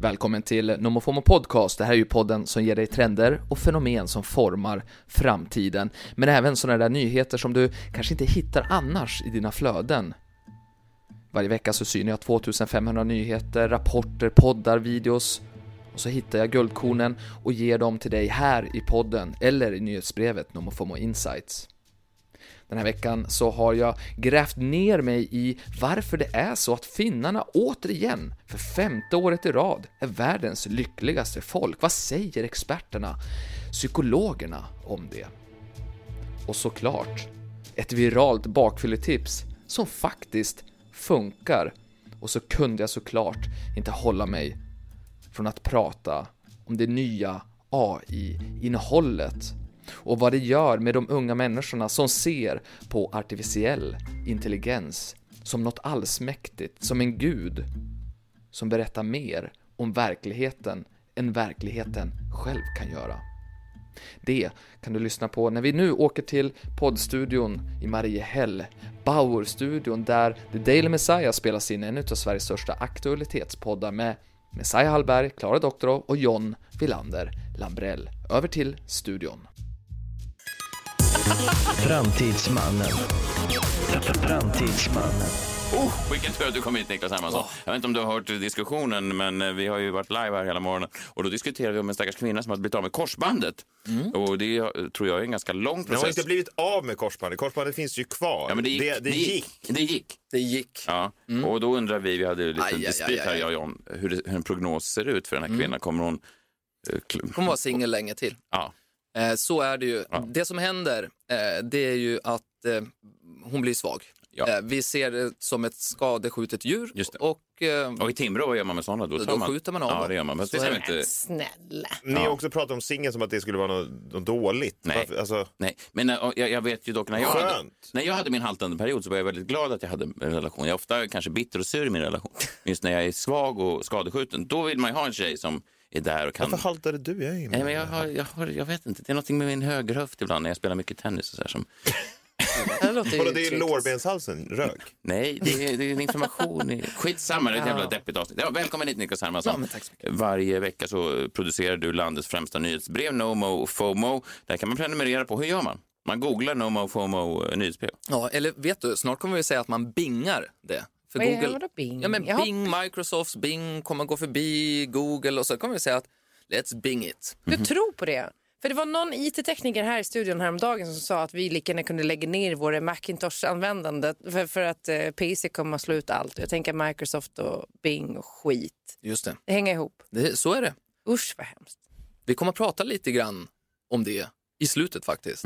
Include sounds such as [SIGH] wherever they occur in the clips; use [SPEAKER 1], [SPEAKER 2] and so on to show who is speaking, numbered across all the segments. [SPEAKER 1] Välkommen till NomoFomo Podcast. Det här är ju podden som ger dig trender och fenomen som formar framtiden. Men även sådana där nyheter som du kanske inte hittar annars i dina flöden. Varje vecka så synar jag 2500 nyheter, rapporter, poddar, videos. Och så hittar jag guldkornen och ger dem till dig här i podden eller i nyhetsbrevet NomoFomo Insights. Den här veckan så har jag grävt ner mig i varför det är så att finnarna återigen, för femte året i rad, är världens lyckligaste folk. Vad säger experterna, psykologerna, om det? Och såklart, ett viralt bakfylletips som faktiskt funkar. Och så kunde jag såklart inte hålla mig från att prata om det nya AI-innehållet och vad det gör med de unga människorna som ser på artificiell intelligens som något allsmäktigt, som en gud som berättar mer om verkligheten än verkligheten själv kan göra. Det kan du lyssna på när vi nu åker till poddstudion i Mariehäll, Bauer-studion där The Daily Messiah spelas in, en av Sveriges största aktualitetspoddar med Messiah Hallberg, Klara Doktorow och John Villander Lambrell. Över till studion.
[SPEAKER 2] Framtidsmannen. Framtidsmannen.
[SPEAKER 3] Oh, vilken tur att du kom hit, Niklas Hermansson. Jag vet inte om du har hört diskussionen, men eh, vi har ju varit live här hela morgonen. Och då diskuterade vi om en stackars kvinna som hade blivit av med korsbandet.
[SPEAKER 4] Mm.
[SPEAKER 3] Och det eh, tror jag är en ganska lång
[SPEAKER 5] Men
[SPEAKER 3] process.
[SPEAKER 5] hon har inte blivit av med korsbandet. Korsbandet finns ju kvar.
[SPEAKER 3] Ja, men det gick.
[SPEAKER 5] Det, gick.
[SPEAKER 3] Det gick.
[SPEAKER 4] Det gick.
[SPEAKER 3] Ja. Och då undrar vi, vi hade ju lite
[SPEAKER 4] Mm. Aj, aj,
[SPEAKER 3] dispyt här,
[SPEAKER 4] aj, Mm. aj.
[SPEAKER 3] jag och John, hur, det, hur en prognos ser ut för den här kvinnan. Kommer hon... eh, kl-
[SPEAKER 4] Hon var singel länge till.
[SPEAKER 3] Ja.
[SPEAKER 4] Eh, så är det ju. Det som händer eh, det är ju att eh, hon blir svag.
[SPEAKER 3] Ja.
[SPEAKER 4] Eh, vi ser det som ett skadeskjutet djur
[SPEAKER 3] Just det.
[SPEAKER 4] och eh,
[SPEAKER 3] Och i Timrå, vad gör man med sådana? Då, tar
[SPEAKER 4] Då skjuter man av
[SPEAKER 3] Ja,
[SPEAKER 4] dem.
[SPEAKER 3] det gör man. Men
[SPEAKER 4] Så
[SPEAKER 3] det
[SPEAKER 4] är
[SPEAKER 3] är
[SPEAKER 4] det.
[SPEAKER 3] inte...
[SPEAKER 6] Snälla.
[SPEAKER 5] Ni har också pratat om singeln som att det skulle vara något, något dåligt.
[SPEAKER 3] Nej.
[SPEAKER 5] Varför- Alltså,
[SPEAKER 3] Nej, men eh, jag, jag vet ju dock när jag, hade,
[SPEAKER 5] Skönt.
[SPEAKER 3] när jag hade min haltande period så var jag väldigt glad att jag hade en relation. Jag är ofta kanske bitter och sur i min relation. Men Just när jag är svag och skadeskjuten, då vill man ju ha en tjej som är där och kan...
[SPEAKER 5] varför haltade du? Jag är ju med.
[SPEAKER 3] Nej, men jag, har, jag, har, jag vet inte, det är någonting med min högerhöft ibland när jag spelar mycket tennis och så här som...
[SPEAKER 4] det låter ju
[SPEAKER 5] Kolla, det är ju
[SPEAKER 4] tryggt.
[SPEAKER 5] lårbenshalsen. Rök.
[SPEAKER 3] Nej, det är, det är en information. i- Skitsamma, det är ett jävla deppigt avsnitt. Ja, välkommen hit Niklas Hermansson.
[SPEAKER 4] Ja, men tack så
[SPEAKER 3] Varje vecka så producerar du landets främsta nyhetsbrev, NOMO och FOMO. Där kan man prenumerera på. Hur gör man? Man googlar NOMO och FOMO eh, nyhetsbrev.
[SPEAKER 4] Ja, eller vet du, snart kommer vi säga att man bingar det. För
[SPEAKER 6] Vad är-
[SPEAKER 4] Google,
[SPEAKER 6] vadå bing?
[SPEAKER 4] Ja, men
[SPEAKER 6] Jaha.
[SPEAKER 4] Bing, Microsofts Bing kommer gå förbi Google och så kommer vi säga att let's bing it.
[SPEAKER 6] Du tror på det? För det var någon IT-tekniker här i studion häromdagen som sa att vi lika gärna kunde lägga ner våra Macintosh-användande för, för att eh, PC kommer att slå ut allt. Jag tänker Microsoft och Bing och skit.
[SPEAKER 4] Just det.
[SPEAKER 6] Det hänger ihop.
[SPEAKER 4] det, så är det.
[SPEAKER 6] Usch vad hemskt.
[SPEAKER 4] Vi kommer att prata lite grann om det i slutet faktiskt.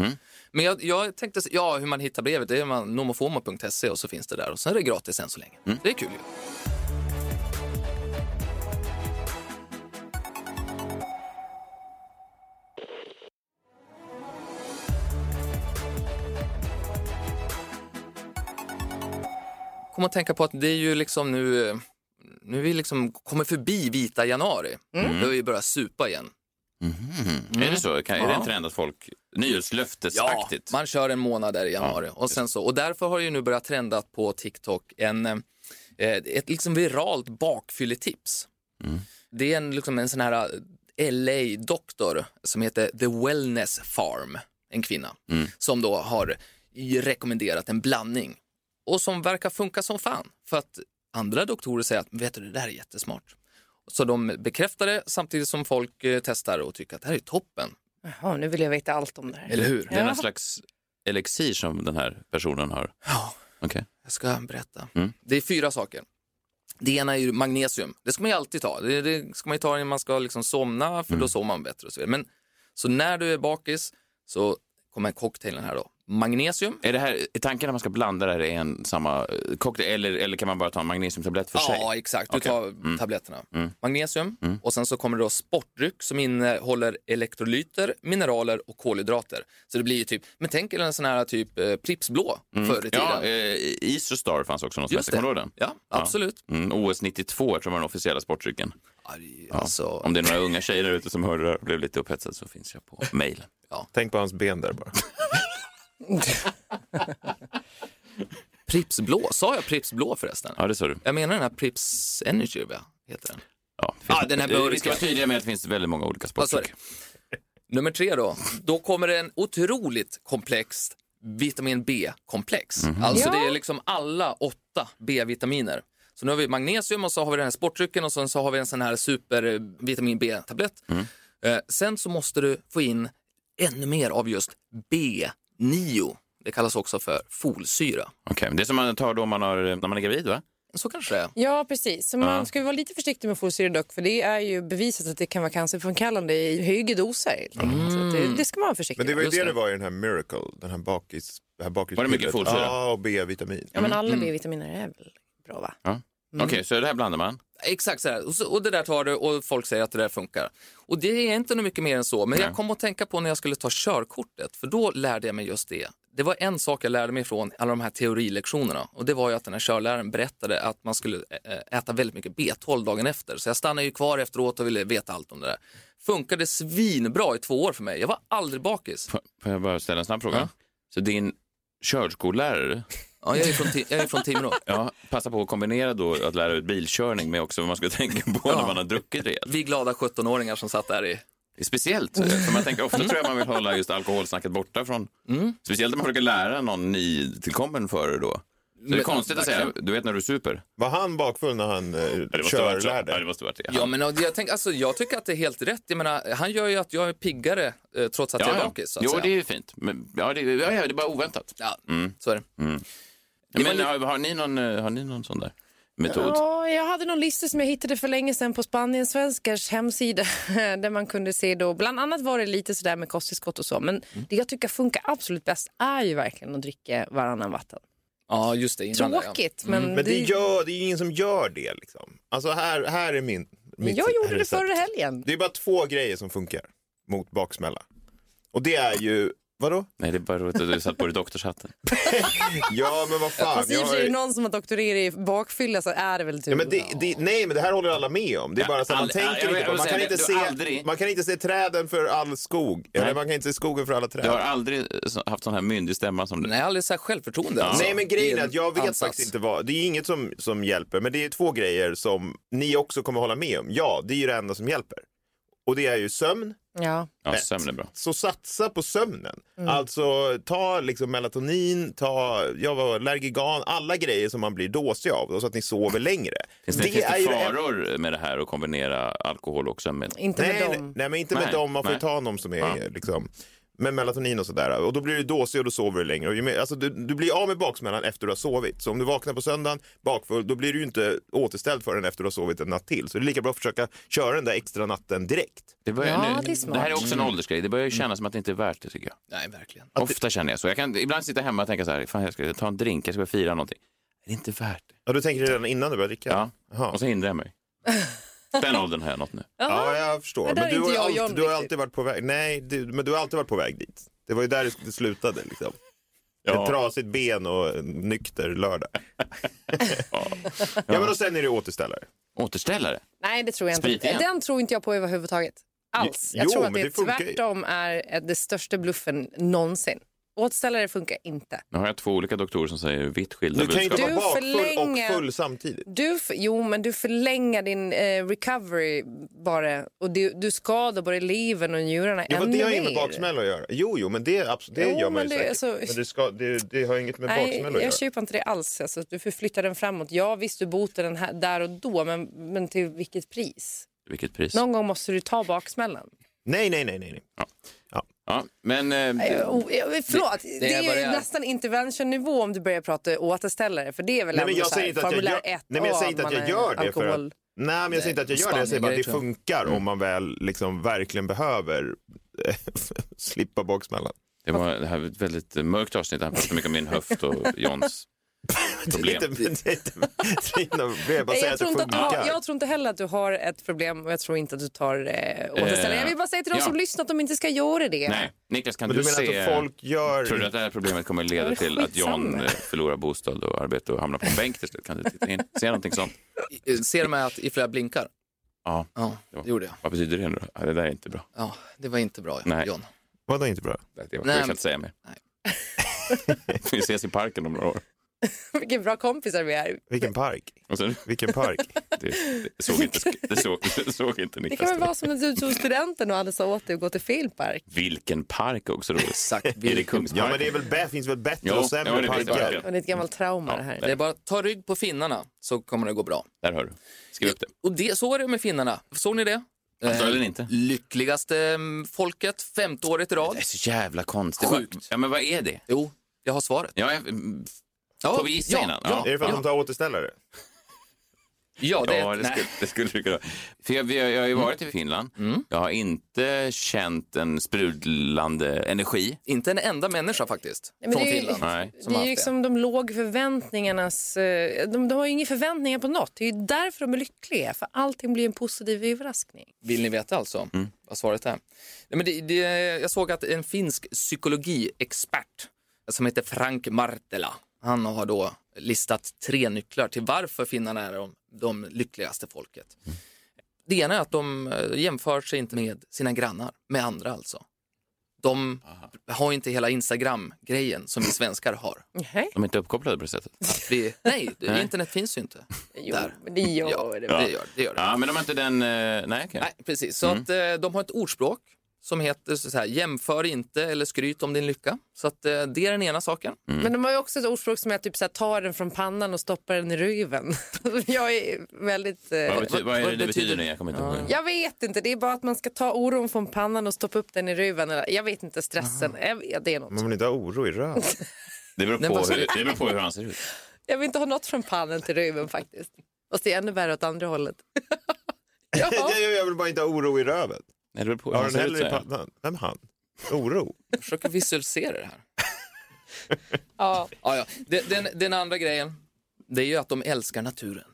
[SPEAKER 4] Men jag, jag tänkte, s- ja hur man hittar brevet, det är man nomofomo.se och så finns det där och sen är det gratis än så länge. Det är kul ju. Kom att tänka på att det är ju liksom nu, eh, nu är vi liksom kommer förbi vita januari. Då vi börjar supa igen.
[SPEAKER 3] Är
[SPEAKER 4] Mm.
[SPEAKER 3] det så? Kan, Är det en trend att folk... Nyhetslöftesaktigt?
[SPEAKER 4] man kör en månad där i januari. och, sen så, och därför har det ju nu börjat trenda på TikTok en, eh, ett liksom viralt bakfylletips. Det är en, liksom en sån här eh, LA-doktor som heter The Wellness Farm, en kvinna, som då har i- rekommenderat en blandning och som verkar funka som fan. För att andra doktorer säger att vet du, det där är jättesmart. Så de bekräftar det samtidigt som folk eh, testar och tycker att det här är toppen.
[SPEAKER 6] Jaha, nu vill jag veta allt om det här.
[SPEAKER 4] Eller hur?
[SPEAKER 3] Det är
[SPEAKER 6] Ja.
[SPEAKER 3] någon slags elixir som den här personen har.
[SPEAKER 4] Ja.
[SPEAKER 3] Okej.
[SPEAKER 4] Jag ska berätta.
[SPEAKER 3] Mm.
[SPEAKER 4] Det är fyra saker. Det ena är ju magnesium. Det ska man ju alltid ta. Det, det ska man ju ta när man ska liksom somna,
[SPEAKER 3] Mm.
[SPEAKER 4] för då sover man bättre. Och så, vidare. Men, så när du är bakis så kommer cocktailen här då. Magnesium.
[SPEAKER 3] Är det här är tanken att man ska blanda det här i en samma eh, cocktail eller, eller kan man bara ta en magnesiumtablett för sig?
[SPEAKER 4] Ja, exakt. Du
[SPEAKER 3] Okej. Mm.
[SPEAKER 4] tar tabletterna. Magnesium och sen så kommer det då sportdryck som innehåller elektrolyter, mineraler och kolhydrater. Så det blir ju typ, men tänk er en sån här typ eh, Pripps blå förr i tiden.
[SPEAKER 3] Ja, eh, Isostar fanns också någon som
[SPEAKER 4] Just
[SPEAKER 3] hette. Kommer
[SPEAKER 4] det.
[SPEAKER 3] du ihåg den?
[SPEAKER 4] Ja, absolut.
[SPEAKER 3] Mm, OS 92 tror jag var den officiella sportdrycken.
[SPEAKER 4] Aj,
[SPEAKER 3] Ja.
[SPEAKER 4] Alltså,
[SPEAKER 3] Om det är några unga tjejer där ute som hörde det här och blev lite upphetsade så finns jag på mejlen.
[SPEAKER 5] Tänk på hans ben
[SPEAKER 3] [LAUGHS]
[SPEAKER 5] där bara.
[SPEAKER 4] Pripps blå, sa jag Pripps blå förresten?
[SPEAKER 3] Ja, det sa du.
[SPEAKER 4] Jag menar den här Pripps Energy, va? heter den.
[SPEAKER 3] Ja, det finns
[SPEAKER 4] Ah, den här
[SPEAKER 3] Eh, Vi ska
[SPEAKER 4] burken.
[SPEAKER 3] vara tydliga med att det finns väldigt många olika
[SPEAKER 4] Vad sa du?
[SPEAKER 3] sportdrycker.
[SPEAKER 4] Nummer tre då. Då kommer det en otroligt komplex vitamin B-komplex. Alltså det är liksom alla åtta B-vitaminer. Så nu har vi magnesium och så har vi den här sportdrycken och sen så har vi en sån här super eh, vitamin B-tablett. Eh, sen så måste du få in ännu mer av just B9. Det kallas också för folsyra.
[SPEAKER 3] Okej, men det är som man tar då man har, när man är gravid, va?
[SPEAKER 4] Så kanske det är.
[SPEAKER 6] Ja, precis. Så man ska ju vara lite försiktig med folsyra dock, för det är ju bevisat att det kan vara cancerframkallande i högre doser. helt enkelt.
[SPEAKER 4] Mm.
[SPEAKER 6] Så att Det, det ska man vara försiktig
[SPEAKER 5] Men det
[SPEAKER 6] med.
[SPEAKER 5] var ju
[SPEAKER 4] Just
[SPEAKER 5] det
[SPEAKER 4] det.
[SPEAKER 5] det var i den här Miracle, den här bakis... Det här bakis
[SPEAKER 3] Var det mycket folsyra?
[SPEAKER 5] Ja, och B-vitamin.
[SPEAKER 6] Ja, men
[SPEAKER 4] Mm.
[SPEAKER 6] alla B-vitaminer är väl bra, va?
[SPEAKER 3] Ja. Okej, så det här blandar man.
[SPEAKER 4] Exakt så här. Och, så, och det där tar du och folk säger att det där funkar. Och det är inte nog mycket mer än så. Men jag kom att tänka på när jag skulle ta körkortet, för då lärde jag mig just det. Det var en sak jag lärde mig från alla de här teorilektionerna och det var ju att den här körläraren berättade att man skulle eh, äta väldigt mycket B12 dagen efter. Så jag stannade ju kvar efteråt och ville veta allt om det där. Funkade svinbra i två år för mig. Jag var aldrig bakis.
[SPEAKER 3] F- Får jag bara ställa en snabb fråga? Så din körskollärare
[SPEAKER 4] Ja, jag är från, Ti- jag är från Timrå.
[SPEAKER 3] ja, passa på att kombinera då att lära ut bilkörning med också vad man ska tänka på när man har druckit rejält.
[SPEAKER 4] Vi glada 17-åringar som satt där i
[SPEAKER 3] Det är speciellt, eh, för man tänker ofta tror jag man vill hålla just alkoholsnacket borta från,
[SPEAKER 4] Mm.
[SPEAKER 3] speciellt om man försöker lära någon nytillkommen förare då. Så det är
[SPEAKER 4] Men-
[SPEAKER 3] konstigt att säga, du vet när du är super.
[SPEAKER 5] Var han bakfull när han eh,
[SPEAKER 3] Ja, det måste ha varit så. Ja, det
[SPEAKER 5] körlärde?
[SPEAKER 3] måste ha varit det.
[SPEAKER 4] Ja, men jag, tänk, alltså, jag tycker att det är helt rätt. Jag menar, han gör ju att jag är piggare eh, trots att jag är bakis. Så att
[SPEAKER 3] jo,
[SPEAKER 4] säga.
[SPEAKER 3] det är Mm. ju fint. Men, ja, det, ja, ja, det är bara oväntat.
[SPEAKER 4] Ja, så är det.
[SPEAKER 3] Men,
[SPEAKER 4] var lite-
[SPEAKER 3] har, har, ni någon, eh, har ni någon sån där metod?
[SPEAKER 6] Ja, jag hade någon lista som jag hittade för länge sedan på Spanien svenskars hemsida [LAUGHS] där man kunde se då, bland annat var det lite sådär med kosttillskott och så, men
[SPEAKER 5] Mm.
[SPEAKER 6] det jag tycker funkar absolut bäst är ju verkligen att dricka varannan vatten.
[SPEAKER 4] Ja, just det. Innan det, ja.
[SPEAKER 6] Tråkigt, men,
[SPEAKER 5] Mm, Men det, gör, det är ingen som gör det liksom. Alltså här, här är min... mitt
[SPEAKER 6] jag gjorde det
[SPEAKER 5] recept.
[SPEAKER 6] förra helgen.
[SPEAKER 5] Det är bara två grejer som funkar mot baksmälla. Och det är ju, vadå?
[SPEAKER 3] Nej, det är bara roligt att du satt på dig doktorshatten.
[SPEAKER 5] Ja men vad fan.
[SPEAKER 6] Fast i
[SPEAKER 5] Jag
[SPEAKER 6] och för sig är det
[SPEAKER 5] har...
[SPEAKER 6] någon som har doktorerat i bakfylla så är det väl du.
[SPEAKER 5] Ja, men det, det, nej men det här håller alla med om. Det är bara så att man
[SPEAKER 3] aldrig- jag-
[SPEAKER 5] tänker
[SPEAKER 3] jag
[SPEAKER 5] inte på
[SPEAKER 3] vill
[SPEAKER 5] man kan
[SPEAKER 3] säga
[SPEAKER 5] inte,
[SPEAKER 3] det,
[SPEAKER 5] se,
[SPEAKER 3] du har aldrig-
[SPEAKER 5] man kan inte se träden för all skog. Eller man kan inte se skogen för alla
[SPEAKER 3] Du har
[SPEAKER 5] träd.
[SPEAKER 3] aldrig eh, så- haft sån här myndig stämma som du.
[SPEAKER 4] Nej, alldeles så här självförtroende. alltså.
[SPEAKER 5] Nej men grejen är att jag vet
[SPEAKER 4] Ansats.
[SPEAKER 5] faktiskt inte vad, det är inget som, som hjälper men det är två grejer som ni också kommer hålla med om. Ja, det är ju det enda som hjälper. Och det är ju sömn,
[SPEAKER 6] Ja.
[SPEAKER 3] Ja, sömn är bra.
[SPEAKER 5] så satsa på sömnen.
[SPEAKER 6] Mm.
[SPEAKER 5] Alltså ta liksom melatonin, ta jag var Lergigan, alla grejer som man blir dåsig av då, så att ni sover längre.
[SPEAKER 3] Finns det, finns det
[SPEAKER 5] ju det-
[SPEAKER 3] faror med det här att kombinera alkohol och sömn? med-
[SPEAKER 6] Inte
[SPEAKER 5] Nej,
[SPEAKER 6] med
[SPEAKER 5] nej,
[SPEAKER 6] dem.
[SPEAKER 5] nej, men inte
[SPEAKER 3] Nej,
[SPEAKER 5] med dem. Man får ju
[SPEAKER 3] nej.
[SPEAKER 5] ta någon som är
[SPEAKER 3] Ja.
[SPEAKER 5] liksom, med melatonin och sådär. Och då blir du dåsig och då sover du längre. Och ju mer, alltså, du, du blir av med baksmällan efter du har sovit. Så om du vaknar på söndagen bakfull, då blir du ju inte återställd förrän efter du har sovit en natt till. Så det är lika bra att försöka köra den där extra natten direkt.
[SPEAKER 3] Det, börjar
[SPEAKER 6] Ja,
[SPEAKER 3] nu,
[SPEAKER 6] det är smart.
[SPEAKER 3] här är också en åldersgrej. Det börjar ju kännas som att det inte är värt det tycker jag.
[SPEAKER 4] Nej, verkligen.
[SPEAKER 3] Ofta känner jag så. Jag kan ibland sitta hemma och tänka så här, fan jag ska ta en drink, jag ska fira någonting. Det är inte värt det.
[SPEAKER 5] Ja, du tänker redan innan du börjar dricka?
[SPEAKER 3] Ja.
[SPEAKER 5] Jaha.
[SPEAKER 3] Och så hindrar jag mig. Den åldern har jag nått nu.
[SPEAKER 5] Ja, jag förstår.
[SPEAKER 6] Det
[SPEAKER 5] Men,
[SPEAKER 6] där är
[SPEAKER 5] du,
[SPEAKER 6] inte
[SPEAKER 5] har ju
[SPEAKER 6] jag och
[SPEAKER 5] alltid, du
[SPEAKER 6] John
[SPEAKER 5] har ju
[SPEAKER 6] riktigt.
[SPEAKER 5] alltid varit på väg. Nej, du, men du har alltid varit på väg dit. Det var ju där det slutade. Liksom.
[SPEAKER 3] Ja.
[SPEAKER 5] Ett trasigt ben och en nykter
[SPEAKER 3] [LAUGHS]
[SPEAKER 5] lördag. ja. men och sen är det återställare.
[SPEAKER 3] Återställare.
[SPEAKER 6] Nej, det tror jag
[SPEAKER 3] Sprit
[SPEAKER 6] inte.
[SPEAKER 3] igen.
[SPEAKER 6] Den tror inte jag på överhuvudtaget. Alls. Jag
[SPEAKER 5] Jo,
[SPEAKER 6] tror att
[SPEAKER 5] men
[SPEAKER 6] det,
[SPEAKER 5] det funkar ju.
[SPEAKER 6] tvärtom är eh, det största bluffen någonsin. Återställare funkar inte.
[SPEAKER 3] Nu har jag två olika doktorer som säger vitt skilda
[SPEAKER 5] Du kan ju
[SPEAKER 3] budskap.
[SPEAKER 5] inte vara
[SPEAKER 6] Du
[SPEAKER 5] bakfull
[SPEAKER 6] förlänger-
[SPEAKER 5] och full samtidigt.
[SPEAKER 6] Du, f- jo, men du förlänger din eh, recovery bara och du, du skadar både levern och njurarna
[SPEAKER 5] Ja,
[SPEAKER 6] ännu
[SPEAKER 5] men det har ju
[SPEAKER 6] mer.
[SPEAKER 5] inget med baksmälla att göra. Jo, jo, men det, är abs- det
[SPEAKER 6] Jo,
[SPEAKER 5] gör man
[SPEAKER 6] men
[SPEAKER 5] ju
[SPEAKER 6] det-
[SPEAKER 5] säkert.
[SPEAKER 6] alltså-
[SPEAKER 5] Men det, ska, det, det har inget med
[SPEAKER 6] Nej,
[SPEAKER 5] baksmälla att
[SPEAKER 6] jag
[SPEAKER 5] göra.
[SPEAKER 6] köper inte det alls. Alltså, du förflyttar den framåt. Ja, visst, du botar den här, där och då, men, men till vilket pris?
[SPEAKER 3] Vilket pris.
[SPEAKER 6] Någon gång måste du ta baksmällan.
[SPEAKER 5] Nej, nej, nej, nej. nej.
[SPEAKER 3] Ja, men eh,
[SPEAKER 6] Eh, Oh, eh, förlåt, det,
[SPEAKER 4] det är
[SPEAKER 6] är,
[SPEAKER 4] vad
[SPEAKER 6] ju
[SPEAKER 4] det är.
[SPEAKER 6] nästan interventionnivå om du börjar prata återställare. För det är väl
[SPEAKER 5] Nej, men
[SPEAKER 6] ändå
[SPEAKER 5] jag
[SPEAKER 6] så här,
[SPEAKER 5] säger inte att jag
[SPEAKER 6] formulär
[SPEAKER 5] gör, nej,
[SPEAKER 6] 1
[SPEAKER 5] men jag säger inte
[SPEAKER 6] man
[SPEAKER 5] att jag
[SPEAKER 6] är
[SPEAKER 5] gör det för att,
[SPEAKER 6] alkohol.
[SPEAKER 5] Nej, men jag säger inte att jag gör det. Jag säger bara att det
[SPEAKER 4] Spanien-grej,
[SPEAKER 5] funkar om man väl liksom verkligen behöver [LAUGHS] eh, slippa baksmällan.
[SPEAKER 3] det var det här var ett väldigt eh, mörkt avsnitt. Han pratade mycket om min höft och Johns problem.
[SPEAKER 5] Det är inte, det är inte, Trina, det är bara att
[SPEAKER 6] Nej,
[SPEAKER 5] säga att
[SPEAKER 6] Jag
[SPEAKER 5] det
[SPEAKER 6] tror, inte att du
[SPEAKER 5] funkar.
[SPEAKER 6] har, jag tror inte heller att du har ett problem och jag tror inte att du tar eh, återställare.
[SPEAKER 3] Eh,
[SPEAKER 6] jag vill bara säga till de
[SPEAKER 3] ja.
[SPEAKER 6] som lyssnar att de inte ska göra det.
[SPEAKER 3] Nej, Niklas kan
[SPEAKER 5] Men
[SPEAKER 3] du,
[SPEAKER 5] du menar
[SPEAKER 3] se...
[SPEAKER 5] att folk gör...
[SPEAKER 3] Tror du att det här problemet kommer leda till att John eh, förlorar bostad och arbete och hamnar på en bänk till slut? Kan du titta in? Se någonting sånt?
[SPEAKER 4] I- eh, Ser de här att ifall jag blinkar?
[SPEAKER 3] Ja.
[SPEAKER 4] Ja, det gjorde jag.
[SPEAKER 3] Vad betyder det nu då? Ja, det där är inte bra.
[SPEAKER 4] Ja, det var inte bra,
[SPEAKER 3] Nej.
[SPEAKER 4] John.
[SPEAKER 5] Vadå inte bra?
[SPEAKER 3] Det var
[SPEAKER 4] Nej,
[SPEAKER 3] sjukt
[SPEAKER 4] men-
[SPEAKER 3] att säga mer.
[SPEAKER 4] Nej.
[SPEAKER 3] Vi ses i parken om några år.
[SPEAKER 6] [LAUGHS] Vilken bra kompisar vi är.
[SPEAKER 5] Vilken park.
[SPEAKER 3] Och sen,
[SPEAKER 5] Vilken park.
[SPEAKER 3] det, det, såg inte, det, såg, det såg inte
[SPEAKER 6] Det
[SPEAKER 3] Niklas.
[SPEAKER 6] kan väl vara som när du tog studenten och alla sa åt dig att gå till filmpark.
[SPEAKER 3] Vilken park också roligt.
[SPEAKER 4] Exakt.
[SPEAKER 3] Är det Kungsparken?
[SPEAKER 5] Ja, men det är väl bä- finns väl bättre
[SPEAKER 3] Jo,
[SPEAKER 5] och
[SPEAKER 3] ja,
[SPEAKER 5] sämre
[SPEAKER 3] det finns det
[SPEAKER 5] parker?
[SPEAKER 3] verkligen.
[SPEAKER 6] Och det är ett gammalt trauma det
[SPEAKER 4] Det
[SPEAKER 6] här.
[SPEAKER 4] är bara att ta rygg på finnarna så kommer det gå bra.
[SPEAKER 3] Där hör du. Skriv upp det.
[SPEAKER 4] Och det, så är det med finnarna. Såg ni det? Eh,
[SPEAKER 3] Antagligen inte.
[SPEAKER 4] Lyckligaste mm, folket, femte året i rad.
[SPEAKER 3] Det är så jävla konstigt.
[SPEAKER 4] Sjukt.
[SPEAKER 3] Ja, men vad är det?
[SPEAKER 4] Jo, jag har svaret.
[SPEAKER 3] Ja, jag,
[SPEAKER 4] Ja,
[SPEAKER 3] Får vi gissa
[SPEAKER 4] ja,
[SPEAKER 3] innan?
[SPEAKER 4] Ja,
[SPEAKER 5] Är det för att de tar återställare?
[SPEAKER 4] ja, det,
[SPEAKER 3] ja, det
[SPEAKER 4] nej.
[SPEAKER 3] skulle, det skulle du kunna. För jag, jag, jag har ju varit i Finland. Jag har inte känt en sprudlande energi.
[SPEAKER 4] Inte en enda människa faktiskt
[SPEAKER 6] men
[SPEAKER 4] från
[SPEAKER 6] det är ju-
[SPEAKER 4] Finland.
[SPEAKER 3] Nej.
[SPEAKER 4] som
[SPEAKER 6] det är
[SPEAKER 4] haft
[SPEAKER 6] ju liksom de låg förväntningarnas... eh, De, de har ju inga förväntningar på något. Det är ju därför de är lyckliga. För allting blir en positiv överraskning.
[SPEAKER 4] Vill ni veta alltså
[SPEAKER 3] Mm.
[SPEAKER 4] vad svaret är? Nej, men det, det, jag såg att en finsk psykologiexpert som heter Frank Martela, han har då listat tre nycklar till varför finnarna är de, de lyckligaste folket.
[SPEAKER 3] Mm.
[SPEAKER 4] Det ena är att de eh, jämför sig inte med sina grannar, med andra alltså. De har inte hela Instagram-grejen som vi svenskar har.
[SPEAKER 6] Nej,
[SPEAKER 3] De är inte uppkopplade på det sättet.
[SPEAKER 6] [LAUGHS]
[SPEAKER 4] Vi, nej, internet finns ju inte.
[SPEAKER 6] jo, men det gör det.
[SPEAKER 4] Det gör det. Gör det.
[SPEAKER 3] Ja, men de har inte den... eh, Nej, okej.
[SPEAKER 4] Nej, precis. Så
[SPEAKER 3] Mm.
[SPEAKER 4] att eh, de har ett ordspråk som heter så här, jämför inte eller skryt om din lycka. Så att eh, det är den ena saken.
[SPEAKER 3] Mm.
[SPEAKER 6] Men de har ju också ett ordspråk som är typ så här, ta den från pannan och stoppa den i röven. [LAUGHS] Jag är väldigt... eh,
[SPEAKER 3] Vad, bety- vad är det
[SPEAKER 4] vad
[SPEAKER 3] det betyder
[SPEAKER 4] betyder
[SPEAKER 3] nu?
[SPEAKER 4] det?
[SPEAKER 3] Jag kommer inte ihåg.
[SPEAKER 6] Jag vet inte, det är bara att man ska ta oron från pannan och stoppa upp den i röven. eller- Jag vet inte, stressen. Jag vet, det är något.
[SPEAKER 5] Man vill inte ha oro i röven. [LAUGHS]
[SPEAKER 3] Det beror,
[SPEAKER 4] vad
[SPEAKER 3] på
[SPEAKER 4] sa
[SPEAKER 3] hur,
[SPEAKER 4] du?
[SPEAKER 3] det beror på hur han ser ut.
[SPEAKER 6] Jag vill inte ha något från pannan till röven faktiskt. Fast det är ännu värre åt andra hållet. [LAUGHS]
[SPEAKER 5] [LAUGHS]
[SPEAKER 6] ja.
[SPEAKER 5] Jag jag vill bara inte ha oro i röven.
[SPEAKER 3] Nej, det beror på hur
[SPEAKER 5] Har
[SPEAKER 3] han
[SPEAKER 5] den
[SPEAKER 3] ser ut.
[SPEAKER 5] heller i
[SPEAKER 3] säger jag.
[SPEAKER 5] pannan? Vem han? Oro?
[SPEAKER 4] Jag försöker visualisera det här.
[SPEAKER 6] Ja.
[SPEAKER 4] Ja, ja. Den, den, den andra grejen, det är ju att de älskar naturen.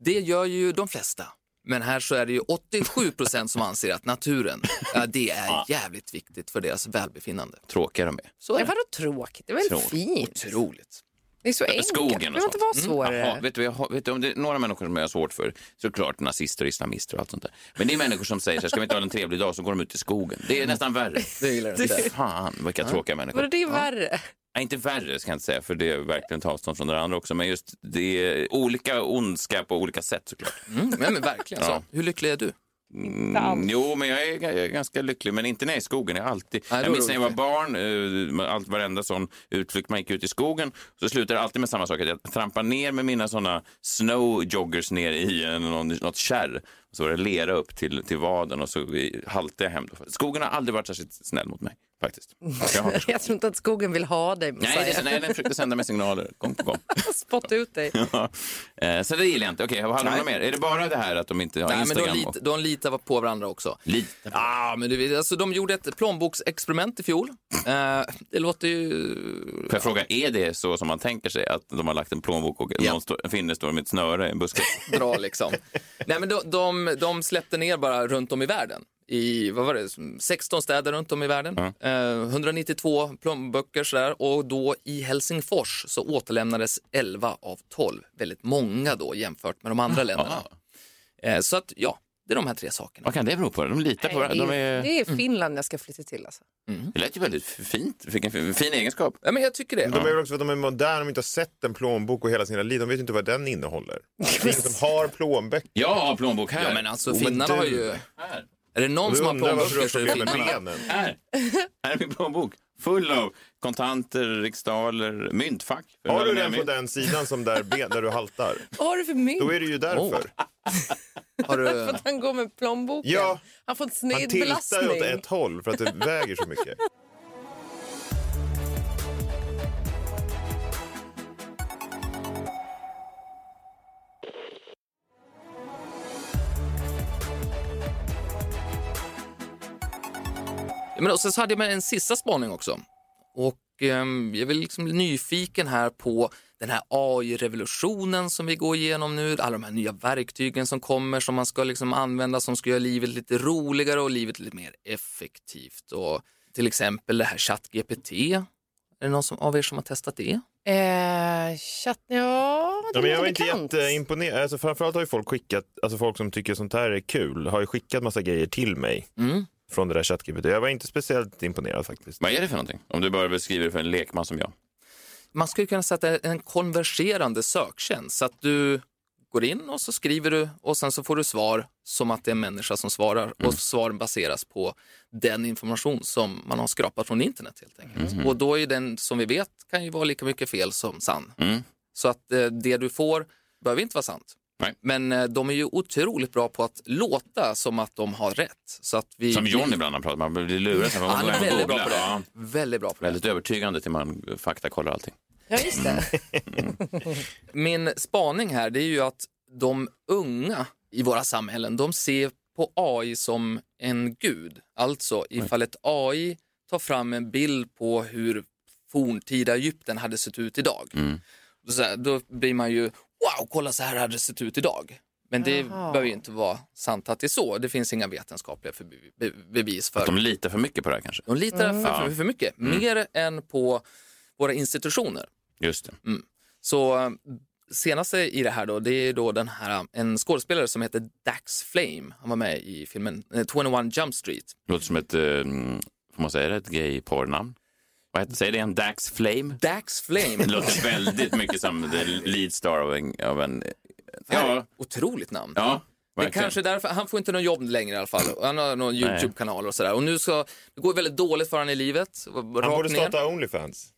[SPEAKER 4] Det gör ju de flesta. Men här så är det ju 87 procent som anser att naturen, ja, det är jävligt viktigt för deras välbefinnande.
[SPEAKER 3] Tråkiga de är.
[SPEAKER 4] Så är
[SPEAKER 6] Men
[SPEAKER 4] det.
[SPEAKER 6] vadå tråkigt? Det är väl
[SPEAKER 3] Tråkigt.
[SPEAKER 6] fint?
[SPEAKER 4] Otroligt.
[SPEAKER 6] Det är så enkelt.
[SPEAKER 3] skogen och Mm.
[SPEAKER 6] det behöver inte vara svårare.
[SPEAKER 3] Jaha, vet du, jag, har- vet du, om det är några människor som jag har svårt för, såklart nazister och islamister och allt sånt där. Men det är människor som säger så här, ska vi inte ha en trevlig dag, så går de ut i skogen. Det
[SPEAKER 6] [LAUGHS]
[SPEAKER 3] är nästan värre.
[SPEAKER 4] Det gillar jag inte.
[SPEAKER 3] Fan, vilka tråkiga
[SPEAKER 6] Vadå,
[SPEAKER 3] människor.
[SPEAKER 6] det är värre. [LAUGHS]
[SPEAKER 3] Nej, inte värre ska jag inte säga, för det är verkligen ett avstånd från det andra också. Men just det är olika ondska på olika sätt såklart.
[SPEAKER 4] Mm, men, men verkligen så.
[SPEAKER 3] Ja.
[SPEAKER 4] Hur lycklig är du?
[SPEAKER 3] Mm, jo, men jag är, jag är ganska lycklig, men inte när jag är i skogen. Jag, är alltid,
[SPEAKER 4] Nej, då
[SPEAKER 3] jag
[SPEAKER 4] är
[SPEAKER 3] minns
[SPEAKER 4] du
[SPEAKER 3] när jag var barn, eh, allt, varenda sån utflykt man gick ut i skogen, så slutade det alltid med samma sak. Att jag trampade ner med mina såna snow joggers ner i en- någon, något kärr. Så var det lera upp till, till vaden och så i- haltade jag hem. Då. Skogen har aldrig varit särskilt snäll mot mig, faktiskt. Jag har
[SPEAKER 4] [LAUGHS]
[SPEAKER 6] Jag tror inte att skogen vill ha dig.
[SPEAKER 3] Nej, det, är så- nej, den försökte sända mig signaler gång på gång.
[SPEAKER 6] Spotta ut dig.
[SPEAKER 3] Ja. [LAUGHS] Eh, så det gillar jag inte. Okej, vad handlar det om mer? Är det bara det här att de inte har
[SPEAKER 4] Nej, men
[SPEAKER 3] Instagram?
[SPEAKER 4] de, lit, de litar på varandra också.
[SPEAKER 3] Lite.
[SPEAKER 4] Ja, men du vet, alltså de gjorde ett plånboksexperiment i fjol. Eh, det låter ju...
[SPEAKER 3] Får jag fråga, är det så som man tänker sig att de har lagt en plånbok och någon står, en finne står med ett snöre i
[SPEAKER 4] [LAUGHS]
[SPEAKER 3] en buske?
[SPEAKER 4] bra liksom. Nej, men de, de, de släppte ner bara runt om i världen. I vad var det, 16 städer runt om i världen. Eh, 192 plånböcker sådär. Och då i Helsingfors så återlämnades 11 av 12. Väldigt många då jämfört med de andra länderna. Eh, så att ja, det är de här tre sakerna.
[SPEAKER 3] Vad kan det bero på? De litar på
[SPEAKER 6] Nej,
[SPEAKER 3] varandra.
[SPEAKER 6] det,
[SPEAKER 3] De
[SPEAKER 6] är,
[SPEAKER 3] är...
[SPEAKER 6] det är Finland jag ska flytta till. Alltså.
[SPEAKER 3] Det lät ju väldigt fint. Vilken fin, fin egenskap.
[SPEAKER 4] Ja, men jag tycker det.
[SPEAKER 5] De är väl också för att de är moderna, de inte har sett en plånbok och hela sina liv. De vet ju inte vad den innehåller. Det är ingen som har plånböcker.
[SPEAKER 3] Jag har plånbok här. Oh,
[SPEAKER 4] Ja, men alltså
[SPEAKER 5] men
[SPEAKER 4] finnarna har
[SPEAKER 5] du-
[SPEAKER 4] ju...
[SPEAKER 3] här.
[SPEAKER 4] Är det någon
[SPEAKER 5] Du
[SPEAKER 4] som har
[SPEAKER 5] undrar varför
[SPEAKER 4] plånböcker
[SPEAKER 5] du
[SPEAKER 4] så
[SPEAKER 5] har
[SPEAKER 4] är det
[SPEAKER 5] problem med
[SPEAKER 4] finnarna.
[SPEAKER 5] benen.
[SPEAKER 3] Här. här är min plånbok. Full av kontanter, riksdaler, myntfack.
[SPEAKER 5] Har du den på
[SPEAKER 3] Mynt.
[SPEAKER 5] den sidan som där, ben, där du haltar?
[SPEAKER 6] Vad har du för mynt?
[SPEAKER 5] Då är det ju därför.
[SPEAKER 4] Har
[SPEAKER 6] [LAUGHS] För
[SPEAKER 4] du...
[SPEAKER 6] att han går med plånboken.
[SPEAKER 5] Ja.
[SPEAKER 6] Han får en
[SPEAKER 5] Han
[SPEAKER 6] sned
[SPEAKER 5] tiltar
[SPEAKER 6] belastning.
[SPEAKER 5] ju åt ett håll för att det väger så mycket.
[SPEAKER 4] Ja, Men och sen så hade jag med en sista spaning också. Och ehm, jag är liksom nyfiken här på den här AI-revolutionen som vi går igenom nu. Alla de här nya verktygen som kommer som man ska liksom använda som ska göra livet lite roligare och livet lite mer effektivt. Och till exempel det här ChatGPT. Är det någon som, av er som har testat det?
[SPEAKER 6] Eh, chatt, ja, det
[SPEAKER 5] Ja, men jag var
[SPEAKER 6] är
[SPEAKER 5] inte
[SPEAKER 6] bekant.
[SPEAKER 5] jätteimponerad. Alltså, framförallt har ju folk skickat, alltså folk som tycker sånt här är kul, har ju skickat massa grejer till mig
[SPEAKER 4] Mm.
[SPEAKER 5] från det där ChatGPT. Jag var inte speciellt imponerad faktiskt.
[SPEAKER 3] Vad är det för någonting? Om du bara beskriver det för en lekman som jag.
[SPEAKER 4] man skulle kunna sätta en konverserande söktjänst så att du går in och så skriver du och sen så får du svar som att det är en människa som svarar
[SPEAKER 3] Mm.
[SPEAKER 4] och svaren baseras på den information som man har skrapat från internet helt enkelt.
[SPEAKER 3] Mm.
[SPEAKER 4] Och då är ju den som vi vet kan ju vara lika mycket fel som sann.
[SPEAKER 3] Mm.
[SPEAKER 4] Så att eh, det du får behöver inte vara sant.
[SPEAKER 3] Nej.
[SPEAKER 4] Men eh, de är ju otroligt bra på att låta som att de har rätt. Så att vi
[SPEAKER 3] Som John ibland har pratat man
[SPEAKER 4] [LAUGHS]
[SPEAKER 3] blir lurad. så Man
[SPEAKER 4] Han
[SPEAKER 3] måste
[SPEAKER 4] är
[SPEAKER 3] gå hem
[SPEAKER 4] väldigt
[SPEAKER 3] och
[SPEAKER 4] bra
[SPEAKER 3] googla.
[SPEAKER 4] på det.
[SPEAKER 3] Ja,
[SPEAKER 4] Väldigt bra på det.
[SPEAKER 3] väldigt övertygande till man faktakollar allting.
[SPEAKER 6] Ja, just det.
[SPEAKER 5] [LAUGHS]
[SPEAKER 4] Min spaning här det är ju att de unga i våra samhällen de ser på AI som en gud. Alltså ifall ett AI tar fram en bild på hur forntida Egypten hade sett ut idag.
[SPEAKER 3] Mm.
[SPEAKER 4] Så här, då blir man ju wow, kolla så här hade det sett ut idag. Men det
[SPEAKER 6] Jaha.
[SPEAKER 4] behöver ju inte vara sant att det är så. Det finns inga vetenskapliga förbi- be- bevis för
[SPEAKER 3] Att de litar för mycket på det här kanske.
[SPEAKER 4] De litar för,
[SPEAKER 3] Ja. Mm.
[SPEAKER 4] för, för mycket, mer än på våra institutioner.
[SPEAKER 3] Just det.
[SPEAKER 4] Mm. Så eh, senaste i det här då, det är då den här, eh, en skådespelare som heter Dax Flame. Han var med i filmen eh, 21 Jump Street.
[SPEAKER 3] Låter som ett, eh, mm, får man säga det, ett gayporrnamn? Vad heter Säg det igen, Dax Flame?
[SPEAKER 4] Dax
[SPEAKER 3] Det
[SPEAKER 4] Flame, [LAUGHS]
[SPEAKER 3] låter väldigt mycket som the lead star av en... Av en ja,
[SPEAKER 4] otroligt namn.
[SPEAKER 3] ja,
[SPEAKER 4] Men
[SPEAKER 3] verkligen.
[SPEAKER 4] kanske därför, han får inte någon jobb längre i alla fall. Han har någon
[SPEAKER 3] Nej.
[SPEAKER 4] YouTube-kanal och sådär. Och nu så, det går väldigt dåligt för honom i livet.
[SPEAKER 5] Han borde starta Onlyfans.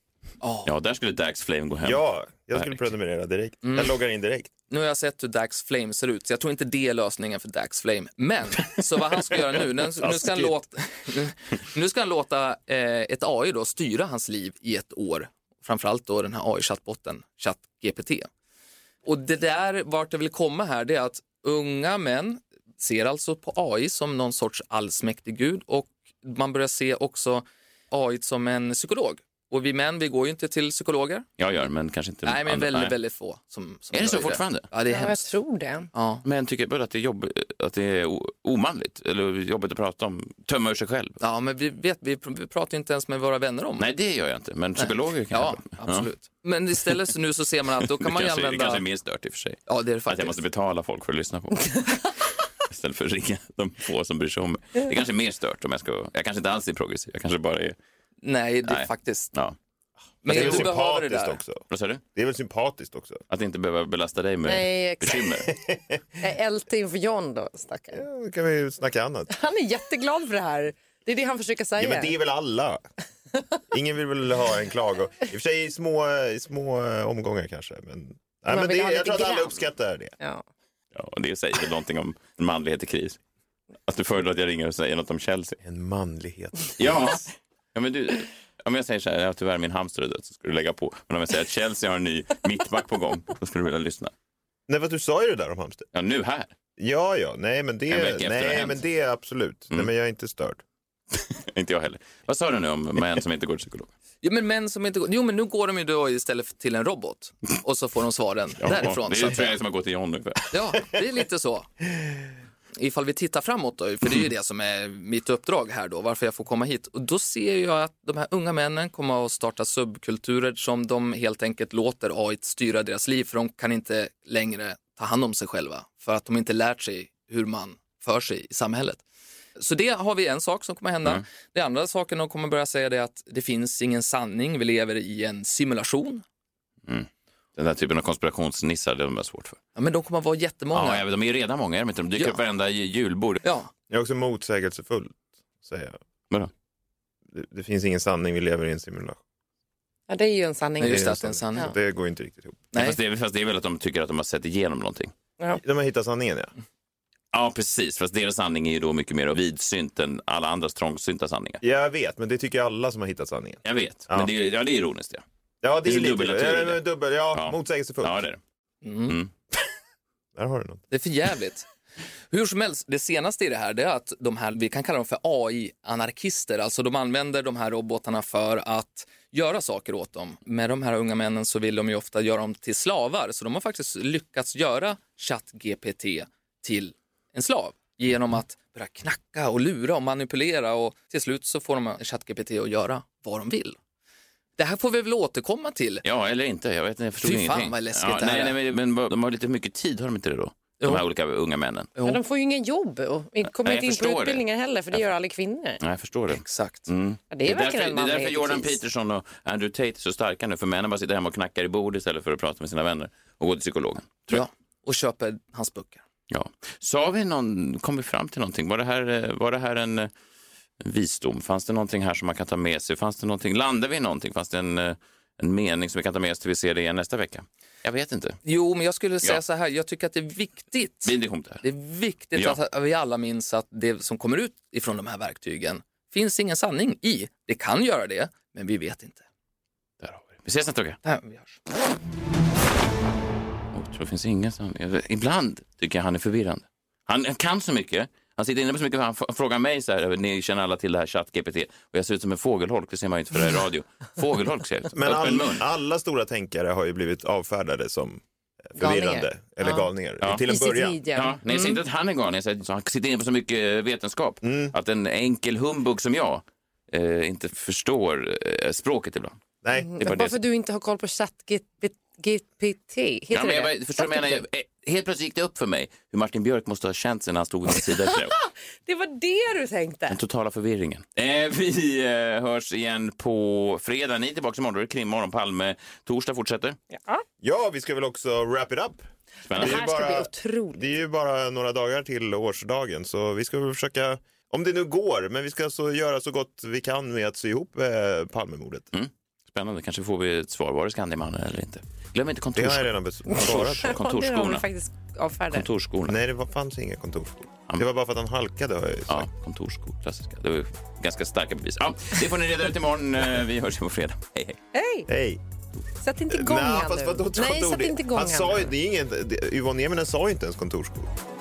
[SPEAKER 3] Ja, där skulle Dax Flame gå hem.
[SPEAKER 5] Ja, jag skulle
[SPEAKER 3] Verkligen.
[SPEAKER 5] prenumerera direkt. Jag loggar in direkt.
[SPEAKER 4] Nu har jag sett hur Dax Flame ser ut, så jag tror inte det är lösningen för Dax Flame. Men, så vad han ska göra nu, nu, nu, ska, han låta, nu ska han låta eh, ett AI då styra hans liv i ett år. Framförallt då den här AI-chattbotten, ChatGPT. Och det där, vart jag vill komma här, det är att unga män ser alltså på AI som någon sorts allsmäktig gud och man börjar se också AI som en psykolog. Och vi män, vi går ju inte till psykologer.
[SPEAKER 3] Jag gör, men kanske inte...
[SPEAKER 4] Nej, men
[SPEAKER 3] Mm, andra-
[SPEAKER 4] väldigt, väldigt få som, som
[SPEAKER 3] Är det så
[SPEAKER 4] gör
[SPEAKER 3] fortfarande?
[SPEAKER 4] Ja, det är
[SPEAKER 6] Ja, jag
[SPEAKER 4] hemskt.
[SPEAKER 6] tror det.
[SPEAKER 4] Ja.
[SPEAKER 3] Men tycker både att det är, jobb, att det är o- omanligt eller jobbigt att prata om, tömma ur sig själv.
[SPEAKER 4] Ja, men vi, vet, vi, pr- vi pratar ju inte ens med våra vänner om
[SPEAKER 3] Nej, det gör jag inte, men psykologer kan jag
[SPEAKER 4] Ja,
[SPEAKER 3] prata om.
[SPEAKER 4] absolut. Men istället så nu så ser man att då
[SPEAKER 3] Ja.
[SPEAKER 4] kan man
[SPEAKER 3] det
[SPEAKER 4] ju
[SPEAKER 3] kanske, det
[SPEAKER 4] använda...
[SPEAKER 3] kanske är mer stört i och för sig.
[SPEAKER 4] Ja, det är det
[SPEAKER 3] Att jag
[SPEAKER 4] faktiskt.
[SPEAKER 3] måste betala folk för att lyssna på mig. Istället för att ringa de få som bryr sig om mig. Det kanske är mer stört om jag ska Jag kanske inte alls är progressiv. Jag kanske bara är...
[SPEAKER 4] Nej, det är
[SPEAKER 3] Nej.
[SPEAKER 4] faktiskt.
[SPEAKER 3] Ja.
[SPEAKER 4] Men
[SPEAKER 5] Det är
[SPEAKER 4] du
[SPEAKER 5] väl
[SPEAKER 4] behöver det
[SPEAKER 5] sympatiskt
[SPEAKER 4] där.
[SPEAKER 5] också.
[SPEAKER 3] Vad sa du?
[SPEAKER 5] Det är väl sympatiskt också.
[SPEAKER 3] Att inte behöva belasta dig med
[SPEAKER 6] Nej, exakt.
[SPEAKER 3] bekymmer.
[SPEAKER 6] Eh, LT inför John då, stackaren.
[SPEAKER 5] Ja, då kan vi ju snacka annat.
[SPEAKER 6] Han är jätteglad för det här. Det är det han försöker säga.
[SPEAKER 5] Ja, men det är väl alla. Ingen vill väl ha en klago. I och för sig i små, i små eh, omgångar kanske. Men, nej, men
[SPEAKER 6] vill
[SPEAKER 5] det,
[SPEAKER 6] ha
[SPEAKER 5] jag
[SPEAKER 6] lite
[SPEAKER 5] tror att alla
[SPEAKER 6] grann.
[SPEAKER 5] uppskattar det.
[SPEAKER 6] Ja.
[SPEAKER 3] Ja, och det säger väl någonting om en manlighet i kris. Att du föredrar att jag ringer och säger något om Chelsea.
[SPEAKER 5] En manlighet.
[SPEAKER 3] Ja, ja men du... Om jag säger så här, ja, tyvärr min hamster är död, så ska du lägga på. Men om jag säger att Chelsea har en ny mittback på gång, då skulle du vilja lyssna.
[SPEAKER 5] Nej, vad du sa ju det där om hamster.
[SPEAKER 3] Ja, nu här.
[SPEAKER 5] Ja, ja, nej, men
[SPEAKER 3] En vecka
[SPEAKER 5] det,
[SPEAKER 3] efter det har
[SPEAKER 5] nej,
[SPEAKER 3] hänt. Mm.
[SPEAKER 5] men det är absolut. Nej, men jag är inte störd.
[SPEAKER 3] Inte jag heller. Vad sa du nu om män som inte går till psykolog?
[SPEAKER 4] Ja, men män som inte går... Jo, men nu går de ju då istället för till en robot. Och så får de svaren därifrån.
[SPEAKER 3] Det
[SPEAKER 4] så
[SPEAKER 3] är
[SPEAKER 4] att
[SPEAKER 3] ju
[SPEAKER 4] säga.
[SPEAKER 3] tröjan som har gått till John nu.
[SPEAKER 4] Ja, det är lite så. Ifall vi tittar framåt då, för det är ju det som är mitt uppdrag här då, varför jag får komma hit. Och då ser jag att de här unga männen kommer att starta subkulturer som de helt enkelt låter AI styra deras liv, för de kan inte längre ta hand om sig själva, för att de inte lärt sig hur man för sig i samhället. Så det har vi en sak som kommer hända.
[SPEAKER 3] Mm.
[SPEAKER 4] Det andra saken de kommer börja säga det är att det finns ingen sanning, vi lever i en simulation.
[SPEAKER 3] Den där typen av konspirationsnissar, det är de är svårt för.
[SPEAKER 4] Ja, men de kommer att vara jättemånga.
[SPEAKER 3] Ja, jag vet, de är ju redan många, är de inte? De dyker
[SPEAKER 4] Ja.
[SPEAKER 3] upp varenda ju- julbord.
[SPEAKER 4] ja.
[SPEAKER 5] Jag är också motsägelsefull, säger jag.
[SPEAKER 3] Vadå?
[SPEAKER 5] Det, det finns ingen sanning, vi lever i en simulation.
[SPEAKER 6] ja, det är ju en sanning.
[SPEAKER 4] Nej, just
[SPEAKER 5] Det är
[SPEAKER 4] att det är en sanning.
[SPEAKER 5] Så Det går inte riktigt ihop.
[SPEAKER 4] Nej.
[SPEAKER 3] Fast det, är, fast det är väl att de tycker att de har sett igenom någonting.
[SPEAKER 5] De har hittat sanningen, ja.
[SPEAKER 3] Ja, precis. Fast deras sanning är ju då mycket mer vidsynt än alla andras trångsynta sanningar.
[SPEAKER 5] Jag vet, men det tycker alla som har hittat sanningen.
[SPEAKER 3] Jag vet,
[SPEAKER 5] Ja.
[SPEAKER 3] men det är, ja, det är ironiskt. Ja,
[SPEAKER 5] Ja, det,
[SPEAKER 3] Det är en
[SPEAKER 5] är, lite...
[SPEAKER 3] dubbelnatur i
[SPEAKER 5] ja,
[SPEAKER 3] det.
[SPEAKER 5] men dubbel, ja,
[SPEAKER 3] Ja.
[SPEAKER 5] motsägelsefullt.
[SPEAKER 3] ja det är det.
[SPEAKER 4] Mm.
[SPEAKER 5] Där har du något.
[SPEAKER 4] Det är för jävligt. Hur som helst, det senaste i det här det är att de här, vi kan kalla dem för AI-anarkister, alltså de använder de här robotarna för att göra saker åt dem. Med de här unga männen så vill de ju ofta göra dem till slavar, så de har faktiskt lyckats göra ChatGPT till en slav genom att börja knacka och lura och manipulera och till slut så får de ChatGPT att göra vad de vill. Det här får vi väl återkomma till.
[SPEAKER 3] Ja, eller inte. Jag vet inte, jag förstod
[SPEAKER 4] Fy fan,
[SPEAKER 3] ingenting.
[SPEAKER 4] vad läskigt
[SPEAKER 3] ja,
[SPEAKER 4] det här
[SPEAKER 3] nej,
[SPEAKER 4] är.
[SPEAKER 3] nej, men, men vad- de har lite mycket tid, har de inte det då? de här olika unga männen.
[SPEAKER 6] Men de får ju inga jobb och in- kommer
[SPEAKER 3] jag
[SPEAKER 6] inte in
[SPEAKER 3] förstår
[SPEAKER 6] på
[SPEAKER 3] det.
[SPEAKER 6] utbildningar heller för det gör aldrig kvinnor.
[SPEAKER 3] Nej, jag förstår det.
[SPEAKER 4] Exakt.
[SPEAKER 3] Mm.
[SPEAKER 6] Ja, det är
[SPEAKER 3] därför,
[SPEAKER 6] verkligen en liksom
[SPEAKER 3] det är därför
[SPEAKER 6] manlig
[SPEAKER 3] Jordan
[SPEAKER 6] kris.
[SPEAKER 3] Peterson och Andrew Tate är så starka nu, för männen bara sitter hemma och knackar i bord istället för att prata med sina vänner och gå till psykologen. Tror jag.
[SPEAKER 4] Ja, och köper hans böcker.
[SPEAKER 3] Ja. Sa vi någon, kom vi fram till någonting? Var det här, eh, var det här en eh, visdom? Fanns det någonting här som man kan ta med sig? Fanns det någonting, landade vi i någonting? Fanns det en, eh, en mening som vi kan ta med oss till vi ser det igen nästa vecka? Jag vet inte.
[SPEAKER 4] Jo, men jag skulle säga
[SPEAKER 3] Ja.
[SPEAKER 4] så här, jag tycker att det är viktigt.
[SPEAKER 3] Bind ihop det här.
[SPEAKER 4] Det är viktigt
[SPEAKER 3] Ja.
[SPEAKER 4] att vi alla minns att det som kommer ut ifrån de här verktygen finns ingen sanning i. Det kan göra det, men vi vet inte.
[SPEAKER 3] Där har vi. det. vi ses nästa vecka.
[SPEAKER 4] Det här vi hörs.
[SPEAKER 3] Jag tror det finns ingen sanning. Ibland tycker jag han är förvirrande. Han han kan så mycket. Han sitter inne på så mycket. Han f- frågar mig så här. Ni känner alla till det här ChatGPT. Och jag ser ut som en fågelholk. Det ser man ju inte för det här i radio. Fågelholk ser jag ut.
[SPEAKER 5] Men
[SPEAKER 3] Öppen
[SPEAKER 5] all,
[SPEAKER 3] mun.
[SPEAKER 5] alla stora tänkare har ju blivit avfärdade som förvirrande
[SPEAKER 6] Galningar.
[SPEAKER 5] eller
[SPEAKER 6] Ja.
[SPEAKER 5] galningar
[SPEAKER 3] Ja.
[SPEAKER 5] till
[SPEAKER 6] I
[SPEAKER 5] en
[SPEAKER 6] sitt
[SPEAKER 5] början.
[SPEAKER 6] midja.
[SPEAKER 3] Ja, nej, jag säger inte att han är galen. Jag säger att Han sitter inne på så mycket eh, vetenskap. Att en enkel humbug som jag eh, inte förstår eh, språket ibland.
[SPEAKER 5] Nej,
[SPEAKER 3] Det är bara
[SPEAKER 6] Bara
[SPEAKER 3] det.
[SPEAKER 6] för att du inte har koll på ChatGPT. Heter
[SPEAKER 3] Ja, men jag,
[SPEAKER 6] det
[SPEAKER 3] bara- förstår du vad jag menar? Eh, Helt plötsligt gick det upp för mig hur Martin Björk måste ha känt sig när han stod vid min sida. efter det.
[SPEAKER 6] det? Det var det du tänkte.
[SPEAKER 3] Den totala förvirringen. Eh, vi eh, hörs igen på fredag. Ni är tillbaka imorgon. Då är det krimmorgon. Palme. Torsdag fortsätter.
[SPEAKER 5] Ja, vi ska väl också wrap it up.
[SPEAKER 6] Det
[SPEAKER 3] Spännande.
[SPEAKER 6] här ska bli otroligt. [LAUGHS]
[SPEAKER 5] Det är ju bara några dagar till årsdagen så vi ska väl försöka, om det nu går, men vi ska så göra så gott vi kan med att sy ihop eh, Palmemordet.
[SPEAKER 3] Spännande. Kanske får vi ett svar. Var det Scandiamannen eller inte? Glöm inte
[SPEAKER 5] Det har jag
[SPEAKER 3] kontors...
[SPEAKER 5] redan besvarat.
[SPEAKER 6] Det har vi
[SPEAKER 3] kontorsskorna.
[SPEAKER 6] faktiskt avfärdat.
[SPEAKER 3] Kontorsskorna.
[SPEAKER 5] Nej, det var, fanns inga kontorsskor. Det var bara för att han halkade har jag ju sagt.
[SPEAKER 3] Ja, kontorsskor. Klassiska. Det var ju ganska starka bevis. Ja, det får ni reda ut [LAUGHS] imorgon. Eh, Vi hörs på fredag. Hej, hej.
[SPEAKER 6] Hej,
[SPEAKER 5] Hej!
[SPEAKER 6] sätt inte igång
[SPEAKER 5] Nej,
[SPEAKER 6] han
[SPEAKER 5] fast
[SPEAKER 6] nu.
[SPEAKER 5] vadå
[SPEAKER 6] Nej,
[SPEAKER 5] kontor?
[SPEAKER 6] sätt inte igång
[SPEAKER 5] Han sa ju,
[SPEAKER 6] nu.
[SPEAKER 5] det är ingen, det- Yvonne Nieminen sa ju inte ens kontorsskor.